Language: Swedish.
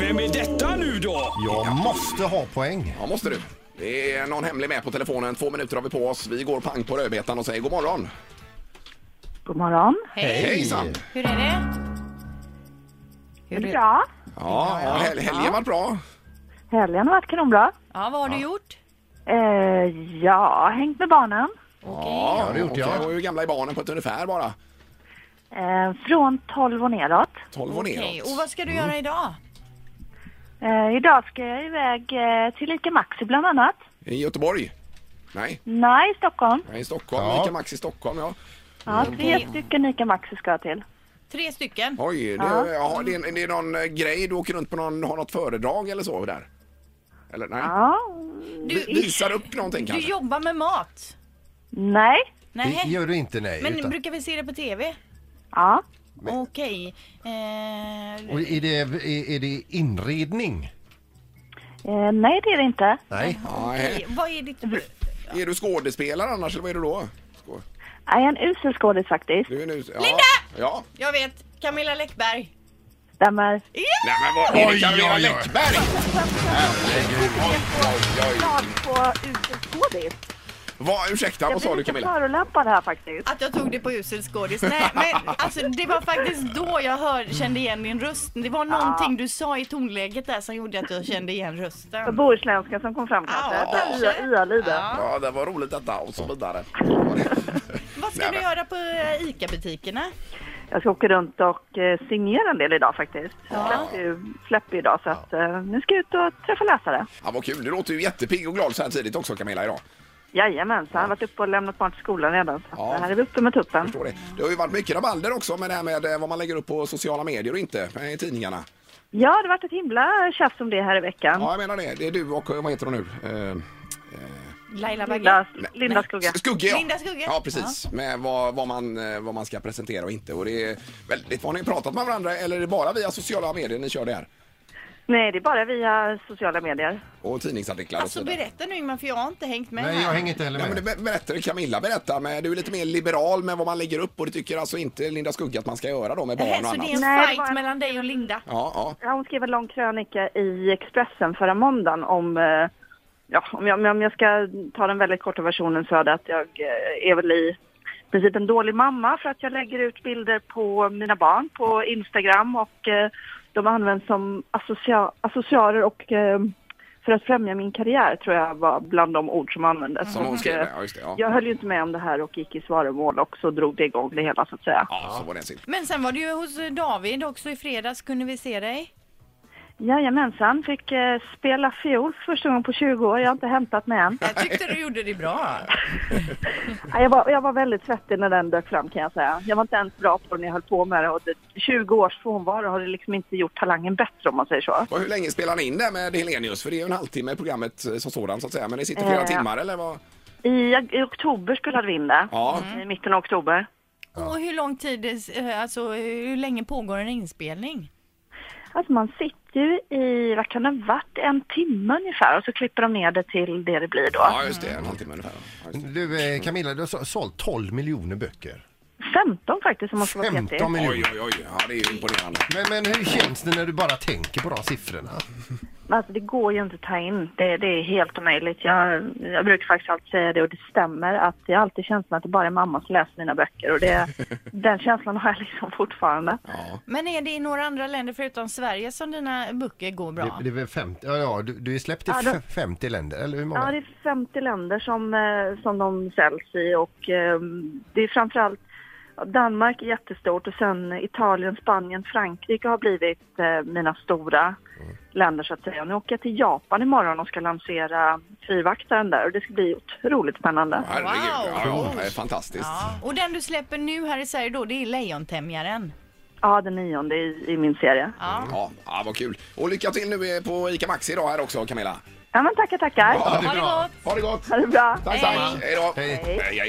Vem är detta nu då? Jag måste ha poäng. Ja, måste du. Det är någon hemlig med på telefonen. Två minuter har vi på oss. Vi går pang på rödbetan och säger god morgon. God morgon. Hej. Hejsan! Hur är det? Det är bra. Ja, hel helgen var bra. Helgen har varit kanonbra. Ja, vad har du gjort? Eh, ja, hängt med barnen. Ja, det gjorde jag. okej. Och hur gamla är barnen på ett ungefär bara? Eh, från 12 och neråt. 12 och Okej, och neråt. vad ska Mm. du göra idag? Eh, idag ska jag iväg eh, till Ica Maxi bland annat. I Göteborg? Nej, Nej, Stockholm. nej, i Stockholm. Ja. Ica Maxi Stockholm, ja. Ja, Mm. tre stycken Ica Maxi ska jag till. Tre stycken. Oj, det, ja. det, är, det är någon eh, grej du åker runt på, någon, har något föredrag eller så där? Eller nej? Ja. Du, Visar upp någonting du kanske? jobbar med mat. Nej. Det Nej. gör du inte, nej. Men utan, brukar vi se det på TV? Ja. Okej. Eh, och är, det, är, är det inredning? Eh, nej, det är det inte. Nej. Nej. vad är ditt... Är du skådespelare annars eller vad är du då? Skå- Jag är en usel skådis faktiskt. Du är nu, ja. Linda! Ja. Jag vet. Camilla Läckberg. Stämmer. Nej men vad är det Oj, Carolina oj, oj. Läckberg? Herregud. Oj, oj, oj. Jag på usel skådis. Vad, ursäkta, Jag vad sa blir du lite Camilla? förolämpad här faktiskt. Att jag tog det på usel skådis. Nej, men alltså, det var faktiskt då jag hör, kände igen din röst. Det var Ah. någonting du sa i tonläget där som gjorde att jag kände igen rösten. Bohuslänska som kom fram kanske. Ja, Där i, i Aliden. Ja, det var roligt detta och så vidare. Vad ska Nej, du men- göra på eh, ICA-butikerna? Jag ska åka runt och eh, signera en del idag faktiskt. Jag släppte ju, släpper ju idag så att, eh, nu ska jag ut och träffa läsare. Ja, vad kul, du låter ju jättepigg och glad så här tidigt också Camilla idag. Jajamensan, jag har varit uppe och lämnat barn till skolan redan. Så att, Ja. det här är vi uppe med tuppen. Förstår det. det har ju varit mycket rabalder också med det här med eh, vad man lägger upp på sociala medier och inte eh, i tidningarna. Ja, det har varit ett himla tjafs om det här i veckan. Ja, jag menar det. Det är du och, eh, vad heter hon nu? Eh, Laila Linda, Bagge? Linda Skugge. Skugge, ja. Linda Skugge. Ja, precis. Med vad, vad, man, eh, vad man ska presentera och inte. Och det är väldigt, har ni pratat med varandra eller är det bara via sociala medier ni kör det här? Nej, det är bara via sociala medier. Och tidningsartiklar och Alltså så vidare. berätta nu Ingmar för jag har inte hängt med Nej, här. jag hänger inte Nej, heller men det med. ber- berättar Camilla berättar, men du är lite mer liberal med vad man lägger upp och det tycker alltså inte Linda Skugge att man ska göra då med Nähä, barn och så det är annat. en Nej, det fight var en- mellan dig och Linda? Ja, ja. Ja, hon skrev en lång krönika i Expressen förra måndagen om eh, Ja, om jag, om jag ska ta den väldigt korta versionen så är det att jag eh, är väl i princip en dålig mamma för att jag lägger ut bilder på mina barn på Instagram och eh, de används som associa- associarer och eh, för att främja min karriär tror jag var bland de ord som användes. Mm. Som hon Och, skrev eh, det, ja, just det, ja. Jag höll ju inte med om det här och gick i svaromål och så drog det igång det hela så att säga. Ja, så var det en sill. Men sen var du ju hos eh, David också i fredags kunde vi se dig. Jajamensan, fick eh, spela fiol för första gången på 20 år. Jag har inte hämtat mig än. Jag tyckte du gjorde det bra. Ja, Jag var, jag var väldigt svettig när den dök fram kan jag säga. Jag var inte ens bra på den när jag höll på med det och det, 20 års frånvaro har det liksom inte gjort talangen bättre om man säger så. Och hur länge spelar ni in det med Helenius? För det är ju en halvtimme i programmet eh, som sådant så att säga. Men ni sitter flera Eh. timmar eller vad? I, I oktober spelade vi in det, Mm. Ja. i mitten av oktober. Och hur lång tid, eh, alltså hur länge pågår en inspelning? Alltså man sitter ju i, vad kan det ha varit, en timme ungefär och så klipper de ner det till det det blir då. Ja, just det. En halvtimme ungefär. Ja, just det. Du, eh, Camilla, du har så- sålt 12 miljoner böcker. 15 faktiskt om man ska vara petig. 15 Oj, miljoner. oj, oj. Ja, det är ju imponerande. Men, men hur känns det när du bara tänker på de siffrorna? Men Alltså det går ju inte att ta in. Det, det är helt omöjligt. Jag, jag brukar faktiskt alltid säga det och det stämmer att jag har alltid känslan att det bara är mamma som läser mina böcker och det, den känslan har jag liksom fortfarande. Men är det i några andra länder förutom Sverige som dina böcker går bra? Det, det är väl 50, ja, ja, du, du är släppt i Ja, då- f- 50 länder, eller hur Ja, många? det är 50 länder som, eh, som de säljs i och eh, det är framförallt Danmark är jättestort och sen Italien, Spanien, Frankrike har blivit eh, mina stora länder så att säga. Nu åker jag till Japan imorgon och ska lansera fyrvaktaren där och det ska bli otroligt spännande. Herregud. Ja, ja, Wow. det är fantastiskt. Ja. Och den du släpper nu här i Sverige då, det är Lejontämjaren. Ja, den nionde i, i min serie. Ja. Ja, ja, vad kul. Och lycka till nu eh, på ICA Maxi idag här också, Camilla. Ja, men tackar, tackar. det är bra. Ha det gott! Ha det bra. Tack, tack! Hej då! Hej. Hej, hej.